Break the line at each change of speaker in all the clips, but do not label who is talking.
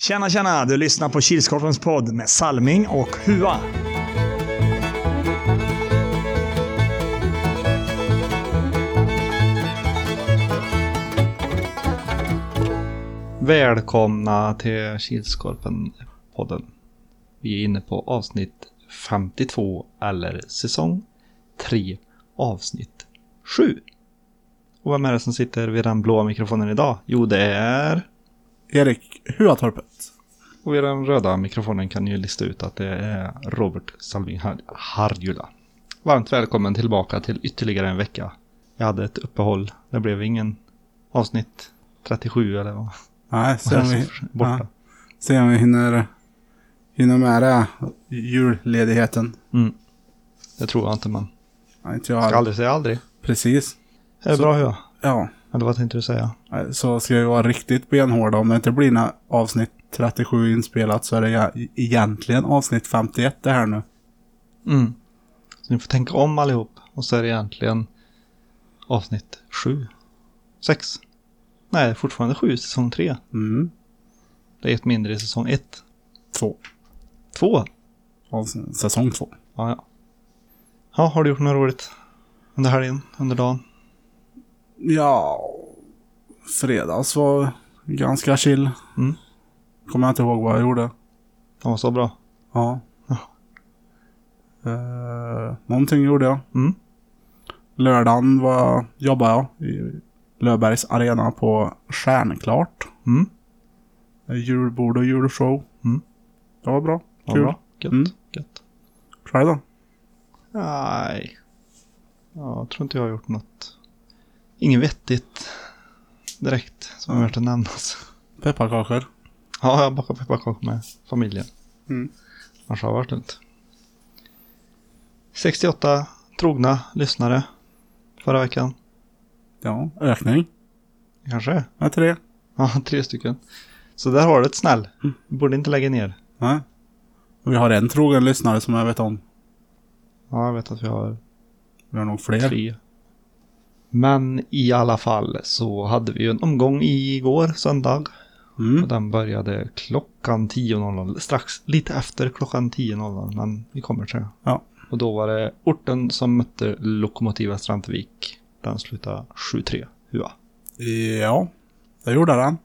Tjena, tjena! Du lyssnar på Kilskorpens podd med Salming och Hua.
Välkomna till Kilskorpen-podden. Vi är inne på avsnitt 52 eller säsong 3 avsnitt 7. Och vem är det som sitter vid den blåa mikrofonen idag? Jo, det är...
Erik Huatorpet.
Och vid den röda mikrofonen kan ni ju lista ut att det är Robert Salving Har- Harjula. Varmt välkommen tillbaka till ytterligare en vecka. Jag hade ett uppehåll. Det blev ingen avsnitt 37 eller vad.
Nej, se om vi,
Borta.
Ja, se om vi hinner, hinner med det. Julledigheten.
Det tror jag inte man.
Nej, inte jag
Ska
aldrig.
aldrig säga aldrig.
Precis.
Är det
Så-
bra hur?
Ja,
Eller vad tänkte du säga?
nej, så ska vi vara riktigt benhårda. Om det inte blir några avsnitt 37 inspelat så är det ja- egentligen avsnitt 51 det här nu.
Mm. Så ni får tänka om allihop. Och så är det egentligen avsnitt sju. Sex. Nej, fortfarande sju, säsong tre.
Mm.
Det är ett mindre i säsong ett.
Två.
Två.
Avsnitt, säsong två.
Ja, ja. Ja, har du gjort något roligt? Under helgen? Under dagen?
Ja, fredags var ganska chill.
Mm.
Kommer jag inte ihåg vad jag gjorde.
Den var så bra.
Ja.
Ja.
Uh, någonting gjorde jag.
Mm.
Lördagen var, jobbade jag i Löfbergs arena på Stjärnklart. Eh,
Mm.
Julbord och julshow.
Mm.
Det var bra.
Var
Kul.
bra. Gött.
Mm.
Gött.
Själv då?
Nej. Ja, jag tror inte jag har gjort något. Inget vettigt. Direkt. Som är värt att nämnas.
Pepparkakor.
Ja, jag bakar pepparkakor med familjen.
Mm.
Annars har det varit lugnt. 68 trogna lyssnare förra veckan.
Ja, ökning
Kanske?
med tre.
Ja, tre stycken. Så där har du ett snäll. Borde inte lägga ner.
Nej. Och Vi har en trogen lyssnare som jag vet om.
Ja, jag vet att vi har
Vi har nog fler.
tre. Men i alla fall så hade vi ju en omgång igår, söndag. Och
Mm.
den började klockan 10.00. Strax lite efter klockan 10.00, men vi kommer till det.
Ja.
Och då var det orten som mötte Lokomotiva Strantvik. Den slutade 7-3. Hua.
Ja, det gjorde den.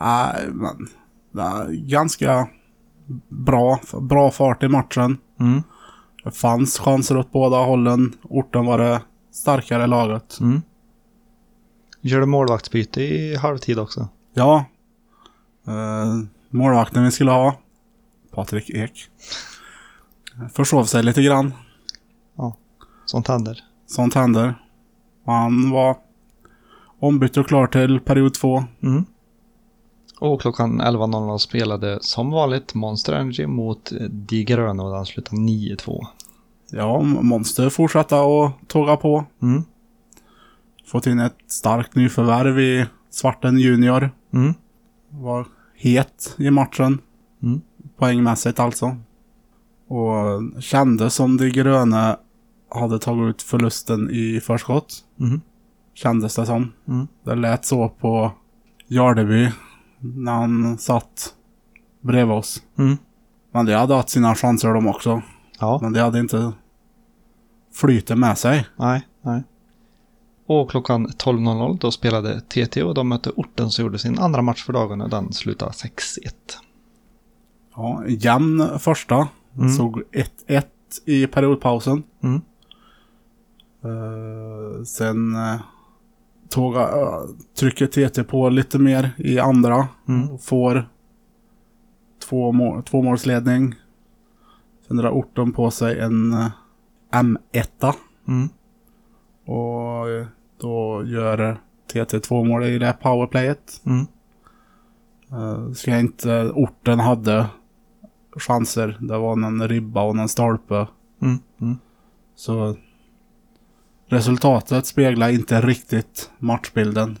Nej, men det är ganska bra, bra fart i matchen.
Mm.
Det fanns chanser åt båda hållen. Orten var det starkare laget.
Mm. Gör du målvaktsbyte i halvtid också?
Ja. Eh, målvakten vi skulle ha. Patrik Ek. Försov sig lite grann.
Sånt händer.
Sånt händer. Och Han var ombytt och klar till period två.
Mm. Och klockan 11.00 spelade som vanligt Monster Energy mot eh, De Gröna och den slutade 9-2.
Ja, Monster fortsatte att tåga på.
Mm.
Fått in ett starkt nyförvärv i Svarten Junior.
Mm.
var het i matchen.
Mm.
Poängmässigt alltså. Och kände som de gröna hade tagit ut förlusten i förskott.
Mm.
Kändes det som.
Mm.
Det lät så på Jardeby när han satt bredvid oss.
Mm.
Men de hade haft sina chanser de också.
Ja,
Men de hade inte flytet med sig.
nej, nej. Och klockan 12.00 då spelade TT och de mötte Orten som gjorde sin andra match för dagen och den slutade 6-1.
Ja, jämn första.
Mm.
Såg 1-1 i periodpausen.
Mm.
Eh, sen uh, tog, eh, trycker TT på lite mer i andra.
Mm.
Och får två mål, tvåmålsledning. Sen drar orten på sig en eh, M1.
Mm.
Och eh, då gör TT två mål i det här powerplayet.
Mm.
Uh, ska jag inte... Orten hade chanser. Det var någon ribba och någon stolpe.
Mm. Mm.
Så resultatet speglar inte riktigt matchbilden.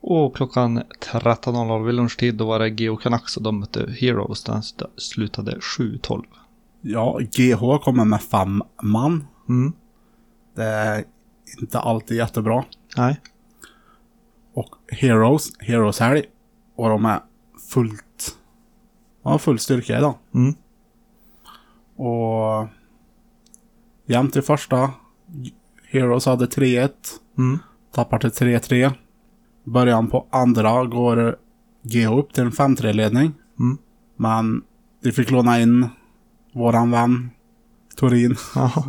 Och klockan 13.00 vid lunchtid då var det Geo Canucks och de mötte Heroes. Den st- slutade 7-12.
Ja, GH kommer med fem man.
Mm.
Det är inte alltid jättebra.
Nej.
Och Heroes, Heroes helg. Och de är fullt... Ja, full styrka idag.
Mm.
Och... Jämnt i första. Heroes hade 3-1.
Mm.
Tappar till 3-3. Början på andra går GH upp till en 5-3-ledning.
Mm.
Men de fick låna in våran vän Torin.
Jaha.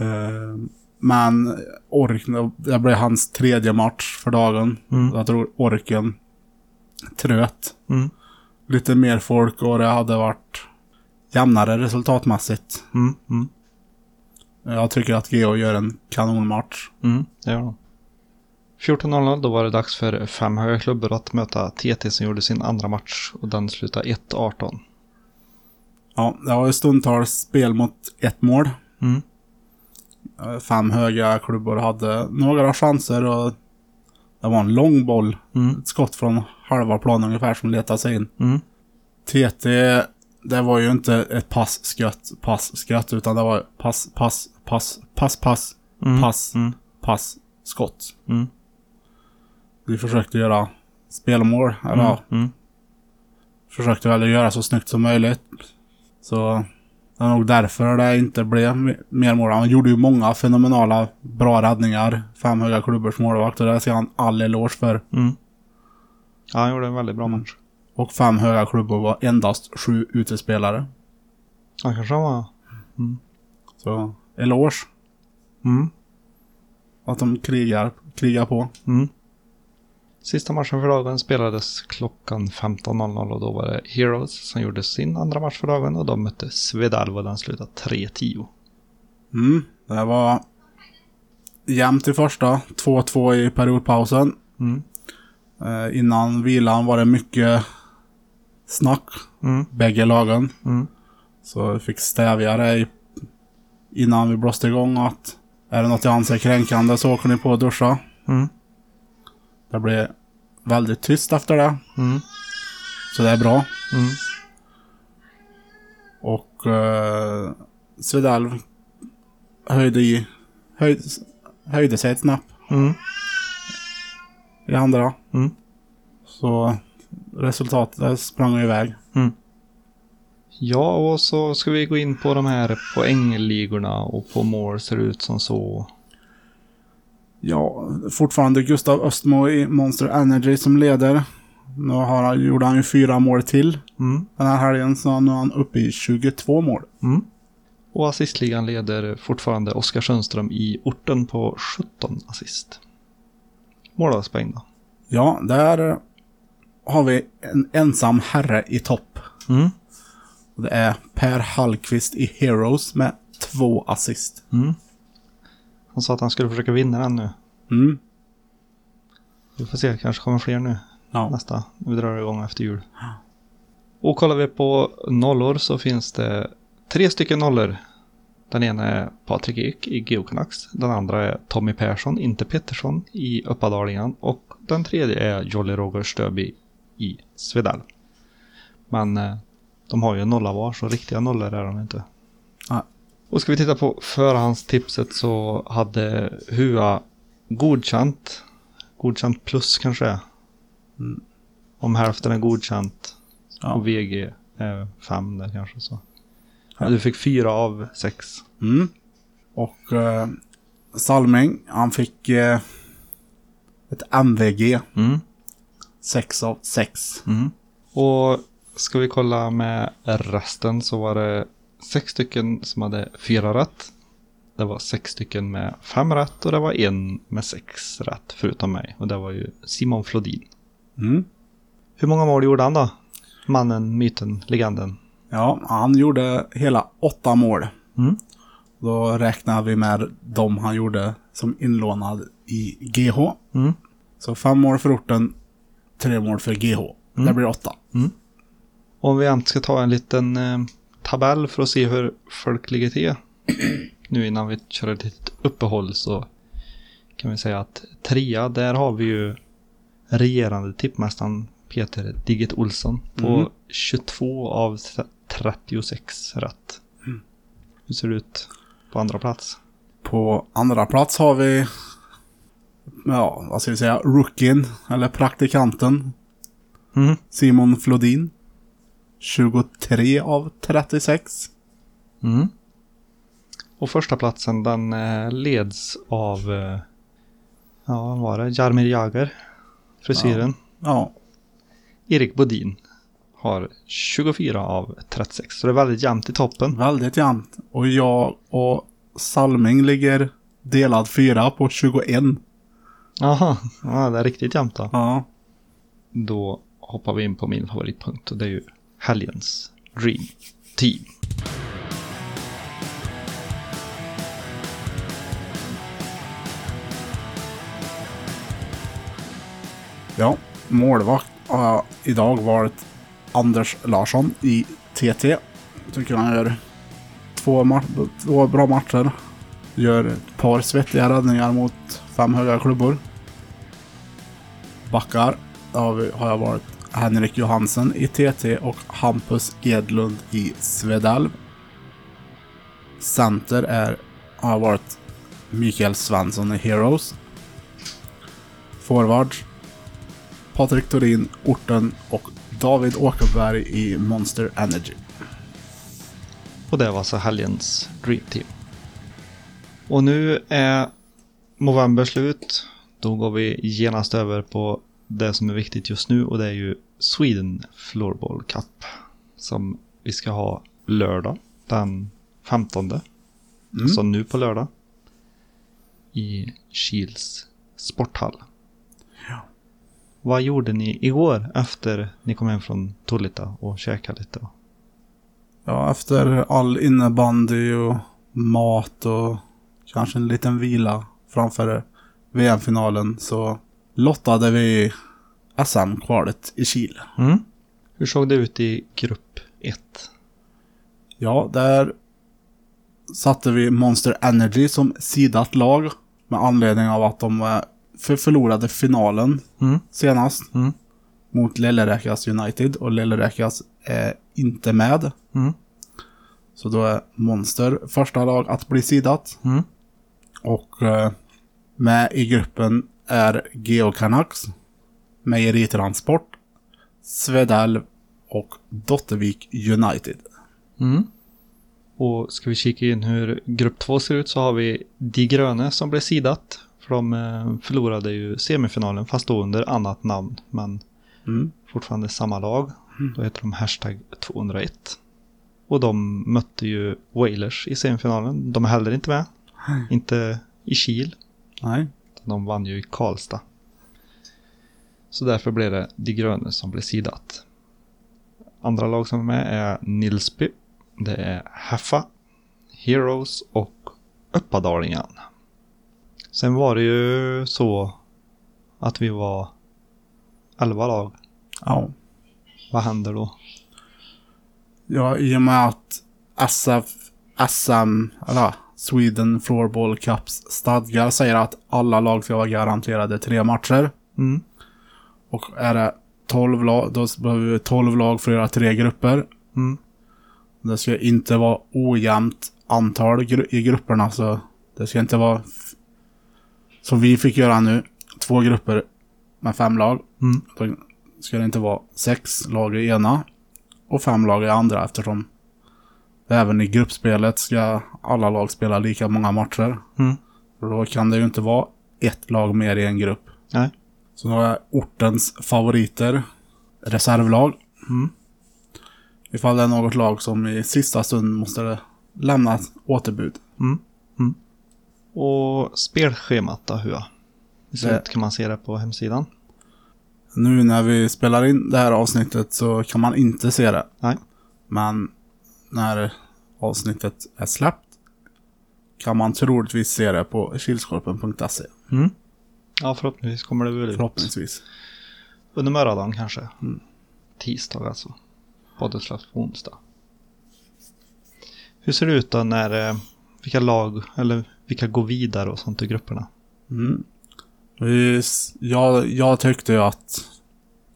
Eh, Men Orken, det blev hans tredje match för dagen.
Mm.
Jag tror Orken tröt.
Mm.
Lite mer folk och det hade varit jämnare resultatmässigt.
Mm. Mm.
Jag tycker att GH gör en kanonmatch.
Mm. Det gör de. 14.00 då var det dags för fem höga klubbor att möta TT som gjorde sin andra match och den slutade 1-18.
Ja, det var ju stundtals spel mot ett mål.
Mm.
Eh, Fem höga klubbor hade några chanser och det var en lång boll.
Mm.
Ett skott från halva plan ungefär som letade sig in.
Mm.
TT, det var ju inte ett pass-skött, pass-skött, utan det var pass, pass, pass, pass, pass,
Mm.
pass,
Mm.
pass, skott.
Mm.
Vi försökte göra spelmål, eller ja,
Mm.
försökte väl göra så snyggt som möjligt. Så det är nog därför det inte blev me- mer mål. Han gjorde ju många fenomenala bra räddningar. Fem höga klubbors målvakt och det ser han all eloge för.
Mm. Ja, han gjorde en väldigt bra match.
Och fem höga klubbor var endast sju utespelare.
Ja, kanske han var...
Så eloge
Mm.
att de krigar, krigar på.
Mm. Sista matchen för dagen spelades klockan 15.00 och då var det Heroes som gjorde sin andra match för dagen och de mötte Svedalv och den slutade 3-10.
Mm, det var jämnt i första. 2-2 i periodpausen.
Mm.
Eh, innan vilan var det mycket snack,
Mm.
bägge lagen.
Mm.
Så vi fick stävja det i- innan vi blåste igång att är det något jag anser kränkande så åker ni på och duscha.
Mm.
Det blev väldigt tyst efter det,
Mm.
så det är bra.
Mm.
Och eh, Svedalv höjde, i, höjde, höjde sig ett snäpp
Mm.
i andra.
Mm.
Så resultatet sprang iväg.
Ja, och så ska vi gå in på de här poängligorna och på mål ser det ut som så.
Ja, fortfarande Gustav Östmo i Monster Energy som leder. Nu har han, gjorde han ju fyra mål till
Mm.
den här helgen, så nu är han uppe i 22 mål.
Mm. Och assistligan leder fortfarande Oskar Sundström i orten på 17 assist. Målvaktspoäng då.
Ja, där har vi en ensam herre i topp.
Mm.
Och Det är Per Hallqvist i Heroes med två assist.
Han sa att han skulle försöka vinna den nu.
Mm.
Vi får se, det kanske kommer fler nu
Ja.
nästa. Vi drar igång efter jul. Och kollar vi på nollor så finns det tre stycken nollor. Den ena är Patrik Ek i Geoknax. Den andra är Tommy Persson, inte Pettersson, i Uppadalingen. Och den tredje är Jolly Roger Stöby i Svedal. Men eh, de har ju en nolla var, så riktiga nollor är de inte.
Nej.
Och ska vi titta på förhandstipset så hade Hua godkänt. Godkänt plus kanske det är.
Mm.
Om hälften är godkänt
Ja.
och VG är fem där kanske så.
Ja.
Du fick fyra av sex.
Mm. Och eh, Salming, han fick eh, ett MVG,
Mm.
6 av 6.
Och ska vi kolla med resten så var det sex stycken som hade fyra rätt. Det var sex stycken med fem rätt och det var en med sex rätt förutom mig. Och det var ju Simon Flodin.
Mm.
Hur många mål gjorde han då? Mannen, myten, legenden.
Ja, han gjorde hela åtta mål.
Mm.
Då räknar vi med de han gjorde som inlånad i GH.
Mm.
Så fem mål för orten, tre mål för GH. Det
Mm.
blir åtta.
Om vi äntligen ska ta en liten eh, tabell för att se hur folk ligger till. Nu innan vi kör ett litet uppehåll så kan vi säga att trea, där har vi ju regerande tippmästaren Peter Digget Olsson på
Mm.
22 av 36 rätt.
Mm.
Hur ser det ut på andra plats?
På andra plats har vi, ja, vad ska vi säga, rookien, eller praktikanten.
Mm.
Simon Flodin. 23 av 36.
Mm. Och första platsen den eh, leds av, eh, ja vad var det, Jarmir Jagr, frisyren.
Ja.
Erik Bodin har 24 av 36, så det är väldigt jämnt i toppen.
Väldigt jämnt. Och jag och Salming ligger delad fyra på 21.
Jaha, ja, det är riktigt jämnt då.
Ja.
Då hoppar vi in på min favoritpunkt och det är ju helgens Dream Team.
Ja. Målvakt har jag idag varit Anders Larsson i TT. Tycker han gör två, ma- två bra matcher. Gör ett par svettiga räddningar mot fem höga klubbor. Backar har vi- har jag varit Henrik Johansen i TT och Hampus Edlund i Svedalv. Center är, har jag varit Mikael Svensson i Heroes. Forwards Patrik Torin, Orten och David Åkerberg i Monster Energy.
Och det var alltså helgens Dream Team. Och nu är november slut. Då går vi genast över på det som är viktigt just nu och det är ju Sweden Floorball Cup. Som vi ska ha lördag den 15.
Mm.
Så nu på lördag. I Kils sporthall. Vad gjorde ni igår efter ni kom hem från Tolita och käkade lite? och-
Ja, efter all innebandy och mat och kanske en liten vila framför VM-finalen så lottade vi SM-kvalet i Chile.
Mm. Hur såg det ut i grupp 1?
Ja, där satte vi Monster Energy som sidat lag med anledning av att de eh, för- förlorade finalen
Mm.
senast
Mm.
mot Lillerekas United och Lillerekas är inte med.
Mm.
Så då är Monster första lag att bli sidat.
Mm.
Och eh, med i gruppen är Geocanucks, Mejeritransport, Svedalv och Dottervik United.
Mm. Och ska vi kika in hur grupp 2 ser ut så har vi De gröna som blev sidat. För de eh, förlorade ju semifinalen fast då under annat namn. Men
Mm.
fortfarande samma lag. Då heter de hashtag 201. Och de mötte ju Wailers i semifinalen. De är heller inte med. Inte i Kil.
Nej.
De vann ju i Karlstad. Så därför blev det De gröna som blev sidat. Andra lag som är med är Nilsby, det är Haffa, Heroes och Uppadalingen. Sen var det ju så att vi var 11 lag.
Ja.
Vad händer då?
ja, i och med att SF, SM, eller Sweden Floorball Cups stadgar säger att alla lag ska vara garanterade tre matcher.
Mm.
Och är det 12 lag, då behöver vi 12 lag för att göra tre grupper.
Mm.
Det ska inte vara ojämnt antal gru- i grupperna, så det ska inte vara... f- Som vi fick göra nu, två grupper med fem lag.
Mm.
Då ska det inte vara sex lag i ena och fem lag i andra eftersom även i gruppspelet ska alla lag spela lika många matcher.
Mm.
För då kan det ju inte vara ett lag mer i en grupp.
Nej.
Så då är ortens favoriter reservlag.
Mm.
Ifall det är något lag som i sista stund måste lämna återbud.
Och spelschemat då, hur? Det ser
Det-
ut kan man se det på hemsidan.
Nu när vi spelar in det här avsnittet så kan man inte se det.
Nej.
Men när avsnittet är släppt kan man troligtvis se det på kilskorpen.se.
Ja, förhoppningsvis kommer det väl ut.
Förhoppningsvis.
Under morgondagen kanske. Tisdag alltså. Podden släpps på onsdag. Hur ser det ut då när eh, vilka lag eller vilka går vidare och sånt i grupperna?
Mm. Vi s- Jag, jag tyckte ju att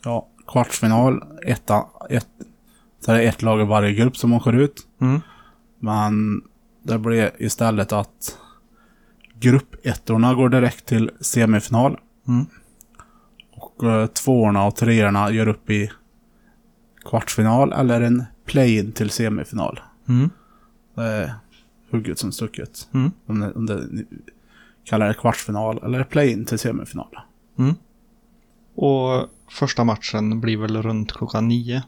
ja, kvartsfinal, etta, ett, så är det ett lag i varje grupp som åker ut.
Mm.
Men det blev istället att gruppettorna går direkt till semifinal.
Mm.
Och eh, tvåorna och treorna gör upp i kvartsfinal eller en play-in till semifinal.
Mm.
Det är hugget som stucket.
Mm.
Om, det, om det, ni kallar det kvartsfinal eller play-in till semifinal.
Och första matchen blir väl runt klockan nio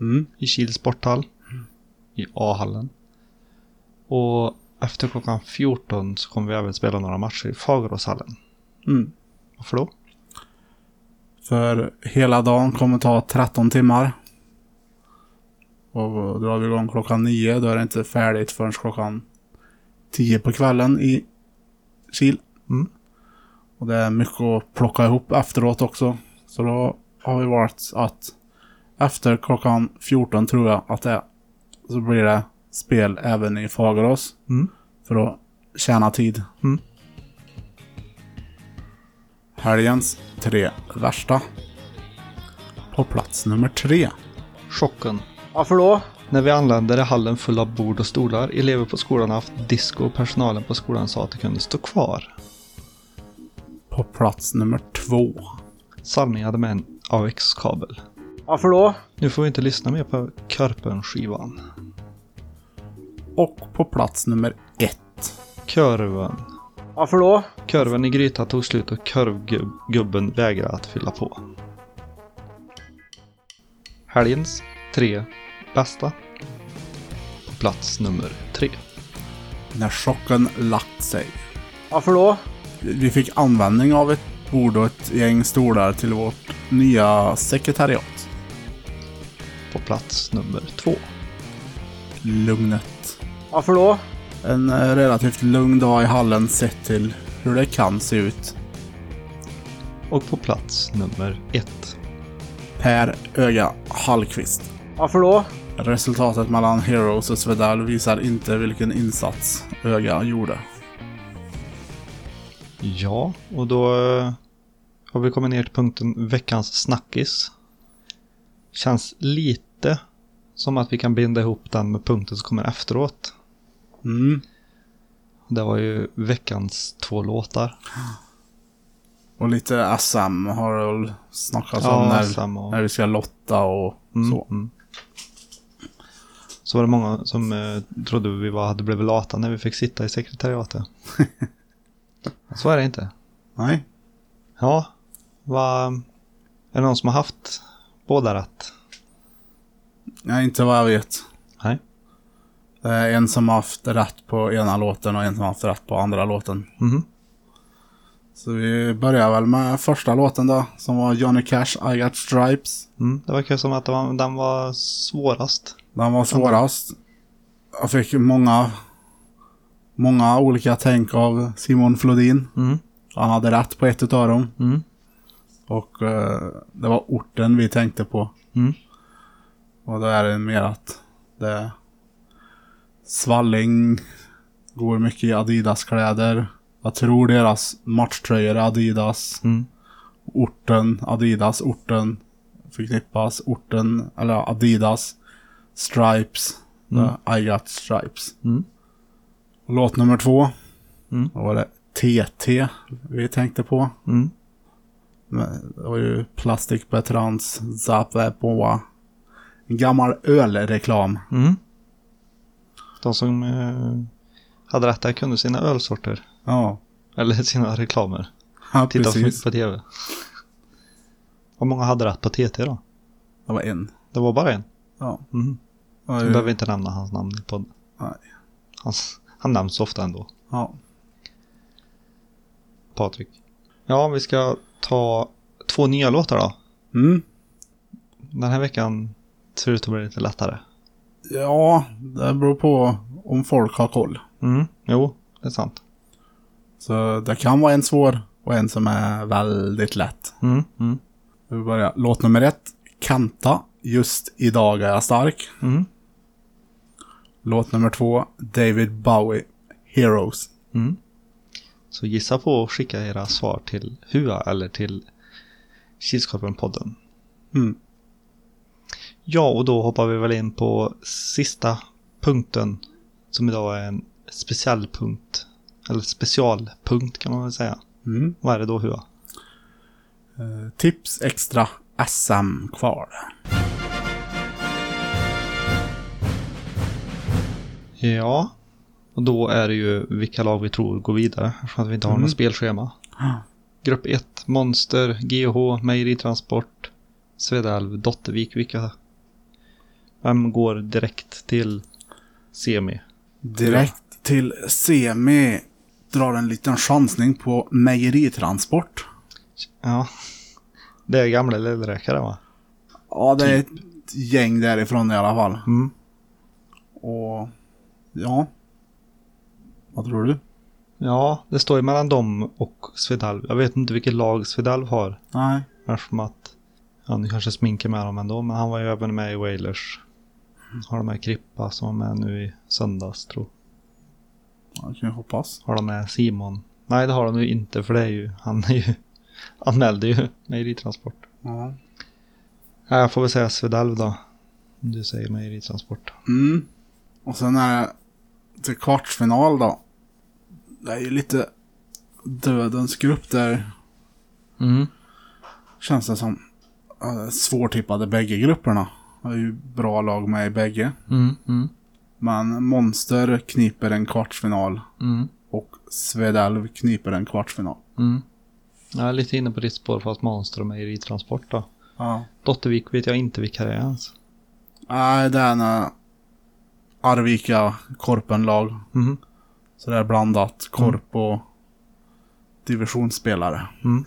Mm.
i Kils sporthall. I A-hallen. Och efter klockan 14 så kommer vi även spela några matcher i Fageråshallen.
Mm.
Varför då?
För hela dagen kommer ta 13 timmar. Och drar vi igång klockan 9 då är det inte färdigt förrän klockan 10 på kvällen i Kil.
Mm.
Och det är mycket att plocka ihop efteråt också. Så då har vi valt att efter klockan 14 tror jag att det är, så blir det spel även i Fagerås.
Mm.
För att tjäna tid.
Mm.
Helgens tre värsta. På plats nummer tre.
Chocken.
Varför då?
När vi anländer är hallen full av bord och stolar. Elever på skolan har haft disco och personalen på skolan sa att de kunde stå kvar.
På plats nummer två.
Salming hade med en AX-kabel.
Varför då?
Nu får vi inte lyssna mer på Körpen-skivan.
Och på plats nummer ett.
Körven.
Varför då?
Körven i grytan tog slut och körvgubben vägrade att fylla på. Helgens tre bästa. På plats nummer tre.
När chocken lagt sig.
Varför då?
Vi fick användning av ett bord och ett gäng stolar till vårt nya sekretariat.
På plats nummer två.
Lugnet.
Varför då?
En eh, relativt lugn dag i hallen sett till hur det kan se ut.
Och på plats nummer ett.
Per Öga Hallqvist.
Varför då?
Resultatet mellan Heroes och Svedal visar inte vilken insats Öga gjorde.
Ja, och då eh, har vi kommit ner till punkten veckans snackis. Känns lite som att vi kan binda ihop den med punkten som kommer efteråt.
Mm.
Det var ju veckans två låtar.
Och lite SM har väl snackats
Ja,
om när,
SM och-
när vi ska lotta och
Mm.
så.
Mm. Så var det många som eh, trodde vi var, hade blivit lata när vi fick sitta i sekretariatet. så är det inte.
Nej.
Ja, vad... Är det någon som har haft båda rätt?
Nej, inte vad jag vet.
Nej.
Det är en som har haft rätt på ena låten och en som har haft rätt på andra låten.
Mhm.
Så vi börjar väl med första låten då, som var Johnny Cash, I Got Stripes.
Mm. Det verkar som att det var, den var svårast.
Den var svårast. Jag fick många, många olika tänk av Simon Flodin.
Mm.
Han hade rätt på ett utav dem.
Mm.
Och eh, det var orten vi tänkte på.
Mm.
Och då är det mer att det... Svalling går mycket i Adidas-kläder. Jag tror deras matchtröjor är Adidas.
Mm.
Orten, Adidas, orten förknippas. Orten, eller ja, Adidas, Stripes. eh, I got Stripes.
Mm.
Och låt nummer två.
Mm.
Då var det TT vi tänkte på.
Mm.
Men Det var ju Plastic Bertrands Zappe på en gammal ölreklam.
Mm. De som eh, hade rätt där kunde sina ölsorter.
Ja,
Eller sina reklamer.
ja
Titta för
precis.
mycket på tv. Hur många hade rätt på TT då?
Det var en.
Det var bara en.
Ja.
Mm.
Det var
Vi
ju-
behöver inte nämna hans namn i podden.
Nej.
Hans, han nämns ofta ändå.
Ja.
Patrik. Ja, vi ska ta två nya låtar då.
Mm.
Den här veckan ser ut att bli lite lättare.
ja, det beror på om folk har koll.
Mm. Jo, det är sant.
Så det kan vara en svår och en som är väldigt lätt.
Mm. Mm.
Vi börjar. Låt nummer ett. Kanta. Just idag är jag stark.
Mm.
Låt nummer två. David Bowie. Heroes.
Mm. Så gissa på och skicka era svar till HUA eller till Kilskorpenpodden.
Mm.
Ja, och då hoppar vi väl in på sista punkten som idag är en speciell punkt. Eller specialpunkt kan man väl säga.
Mm.
Vad är det då HUA?
Eh, tips extra SM-kval.
Ja. Och då är det ju vilka lag vi tror går vidare eftersom att vi inte har något spelschema. Grupp 1, Monster, GH, Mejeritransport, Svedalv, Dottervik. Vilka? Vem går direkt till semi?
Direkt till semi. Drar en liten chansning på mejeritransport.
Ja. Det är gamla lillräkare va?
Ja, det är Typ ett gäng därifrån i alla fall.
Mm.
Och ja. Vad tror du?
Ja, det står ju mellan dem och Svedalv. Jag vet inte vilket lag Svedalv har.
Nej.
Eftersom att han kanske sminkar med dem ändå, men han var ju även med i Wailers. Har de med Krippa som var med nu i söndags tror
Ja, det kan jag hoppas.
Har de med Simon? Nej det har de ju inte för det är ju, han är ju, anmälde ju mejeritransport.
Ja.
Nej, jag får väl säga Svedalv då. Om Du säger mejeritransport.
Mm. Och sen är det till kvartsfinal då. Det är ju lite dödens grupp där
Mm.
känns det som. Ja, det är Svårtippade bägge grupperna. Det är ju bra lag med i bägge.
Mm, mm,
Men Monster kniper en kvartsfinal
mm,
och Svedalv kniper en kvartsfinal.
mm. Jag är lite inne på ditt spår fast Monster och mejeritransport då.
Ja.
Dottervik vet jag inte vilka det är ens.
Nej, det är en eh, Arvika Korpen-lag.
Mm,
Så det är blandat korp och divisionsspelare.
mm.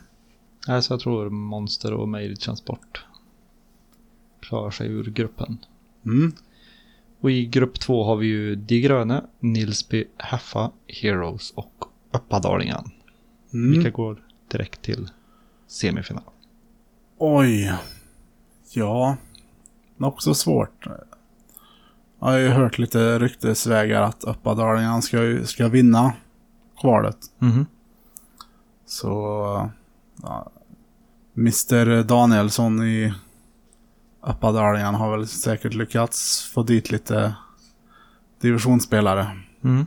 Nej, så jag tror Monster och mejeritransport klarar sig ur gruppen.
Mm.
Och i grupp två har vi ju De gröna, Nilsby, Heffa, Heroes och Uppadalingen.
Mm.
Vilka går direkt till semifinal.
Oj. Ja. Det är också svårt. Jag har ju hört lite ryktesvägar att Uppadalingen ska, ju- ska vinna kvalet.
Mhm.
Så... Ja, Mr Danielsson i Uppadalingen har väl säkert lyckats få dit lite divisionsspelare. Mm-hmm.
Mm.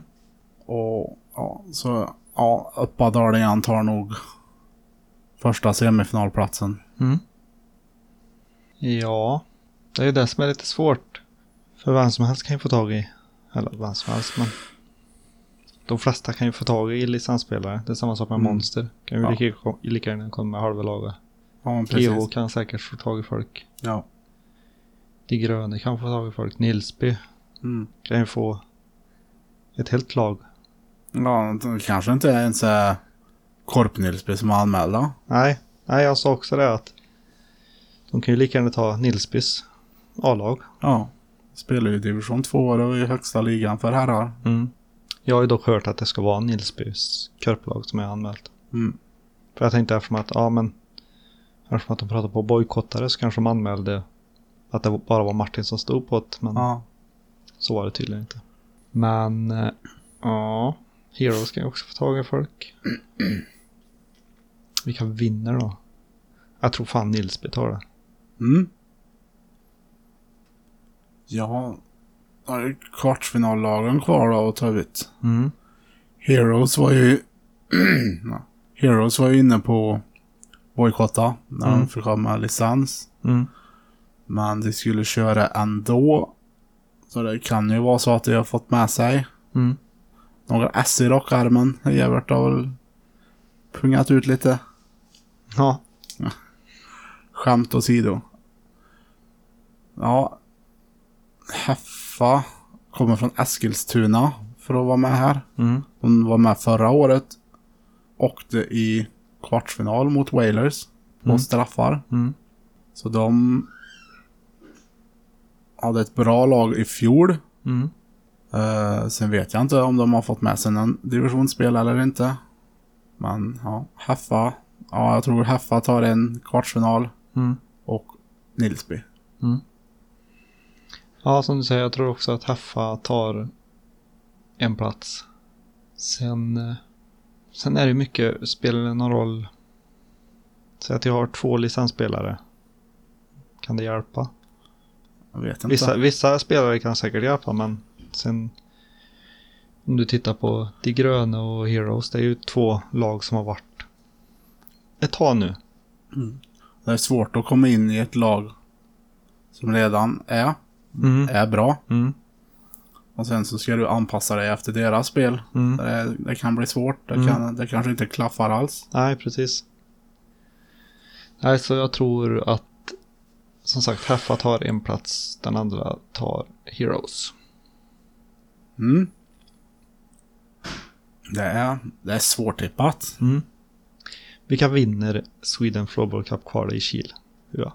Och ja, så ja, Uppadalingen tar nog första semifinalplatsen.
Mm. Ja, det är ju det som är lite svårt. För vem som helst kan ju få tag i, eller vem som helst men. De flesta kan ju få tag i licensspelare. Det är samma sak med
Mm.
Monster. Kan ju
Ja.
lika, lika gärna komma med halva laget.
Ja, men
GH kan säkert få tag i folk.
Ja.
De gröna kan få tag i folk. Nilsby
Mm.
kan ju få ett helt lag.
ja, det kanske inte ens är Korp-Nilsby som är anmälda.
Nej, nej jag sa också det att de kan ju lika gärna ta Nilsbys A-lag.
Ja. Spelar ju division 2 och i högsta ligan för herrar.
Jag har ju dock hört att det ska vara Nilsbys körplag som är anmält.
Mm.
För jag tänkte eftersom att, ja men, eftersom att de pratar på bojkottare så kanske de anmälde att det bara var Martin som stod på det, men
Ja.
så var det tydligen inte. Men, eh, ja, Heroes kan ju också få tag i folk. Vilka vinner då? Jag tror fan Nilsby tar det.
Mm. Ja. Då är det kvartsfinallagen kvar då att ta ut.
Mm.
Heroes var ju... Ja. Heroes var ju inne på bojkotta när
Mm.
de fick ha med licens.
Mm.
Men de skulle köra ändå. Så det kan ju vara så att de har fått med sig
Mm.
några S i rockärmen. Evert har väl pungat ut lite.
Ja.
Skämt åsido. Ja. Heffa kommer från Eskilstuna för att vara med här.
Mm.
Hon var med förra året. Åkte i kvartsfinal mot Wailers på
Mm.
straffar.
Mm.
Så de hade ett bra lag i fjol.
Mm.
Eh, sen vet jag inte om de har fått med sig någon divisionsspel eller inte. Men ja, Heffa. Ja, jag tror Heffa tar en kvartsfinal
Mm.
och Nilsby.
Ja, som du säger, jag tror också att Haffa tar en plats. Sen, eh, sen är det mycket, spelar det någon roll? Säg att jag har två licensspelare. Kan det hjälpa?
Jag vet inte.
Vissa, vissa spelare kan säkert hjälpa, men sen om du tittar på De Gröna och Heroes, det är ju två lag som har varit ett tag nu.
Det är svårt att komma in i ett lag som redan är,
Mm.
är bra.
Mm.
Och sen så ska du anpassa dig efter deras spel.
mm.
Det, det kan bli svårt. Det, kan, det kanske inte klaffar alls.
Nej, precis. Nej, så jag tror att som sagt Haffa tar en plats, den andra tar Heroes.
Mm. Det är, det är svårtippat.
Vilka vinner Sweden Floorball Cup-kvalet i Kiel? Ja.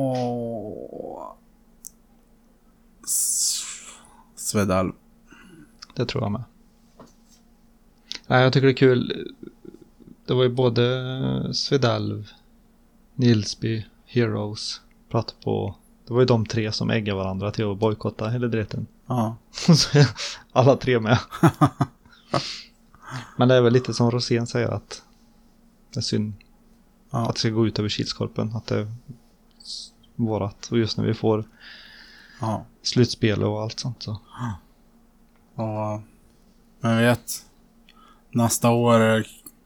Åh. S- Svedal.
Det tror jag med. Nej, jag tycker det är kul. Det var ju både Svedalv, Nilsby, Heroes, pratade på. Det var ju de tre som äggade varandra till att bojkotta hela dreten.
Ja.
Och så är alla tre med. Men det är väl lite som Rosén säger att det är synd
Ja.
att det ska gå ut över Kilskorpen. Att det är vårat. Och just när vi får
ja.
slutspel och allt sånt så.
Och, men jag vet. Nästa år eh,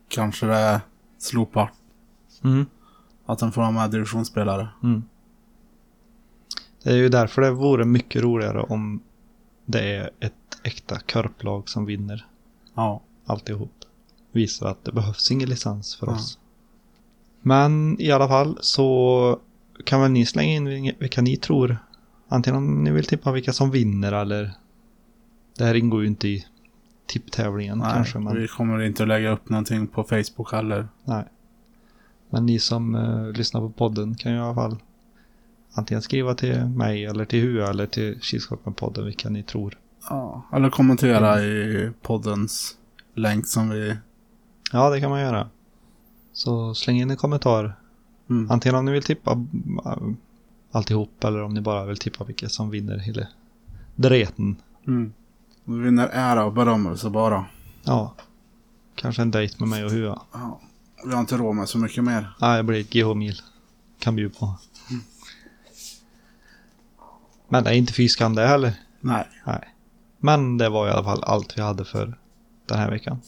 kanske det slopar.
Mm.
Att de får ha med divisionsspelare.
Det är ju därför det vore mycket roligare om det är ett äkta körplag som vinner
Ja.
alltihop. Visar att det behövs ingen licens för
Ja.
oss. Men i alla fall så kan väl ni slänga in vil- vilka ni tror. Antingen om ni vill tippa vilka som vinner eller det här ingår ju inte i tipptävlingen
Nej,
kanske. Men,
vi kommer inte att lägga upp någonting på Facebook heller.
nej. men ni som eh, lyssnar på podden kan ju i alla fall antingen skriva till mig eller till Hua eller till Kilskorpenpodden vilka ni tror
Ja. Mm. Eller kommentera i poddens länk som vi...
Ja, det kan man göra. Så släng in en kommentar.
Mm.
Antingen om ni vill tippa mm, alltihop eller om ni bara vill tippa vilka som vinner hela dreten.
Mm. Vi vinner ära och berömmelse bara.
Ja. Kanske en dejt med mig och Hua.
Ja. Vi har inte råd med så mycket mer.
Nej, det blir ett GH-mil. Kan bjuda på. Men det är inte fy skam det heller.
Nej.
Nej. Men det var i alla fall allt vi hade för den här veckan.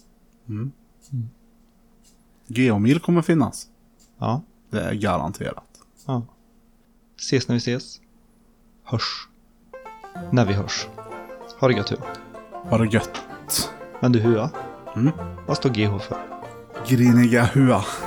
Geomil kommer finnas.
Ja.
Det är garanterat.
ja. Ses när vi ses. Hörs. När vi hörs. Ha det gött Hua.
Ha det gött.
Men du Hua,
Mm.
vad står GH för?
Griniga hua.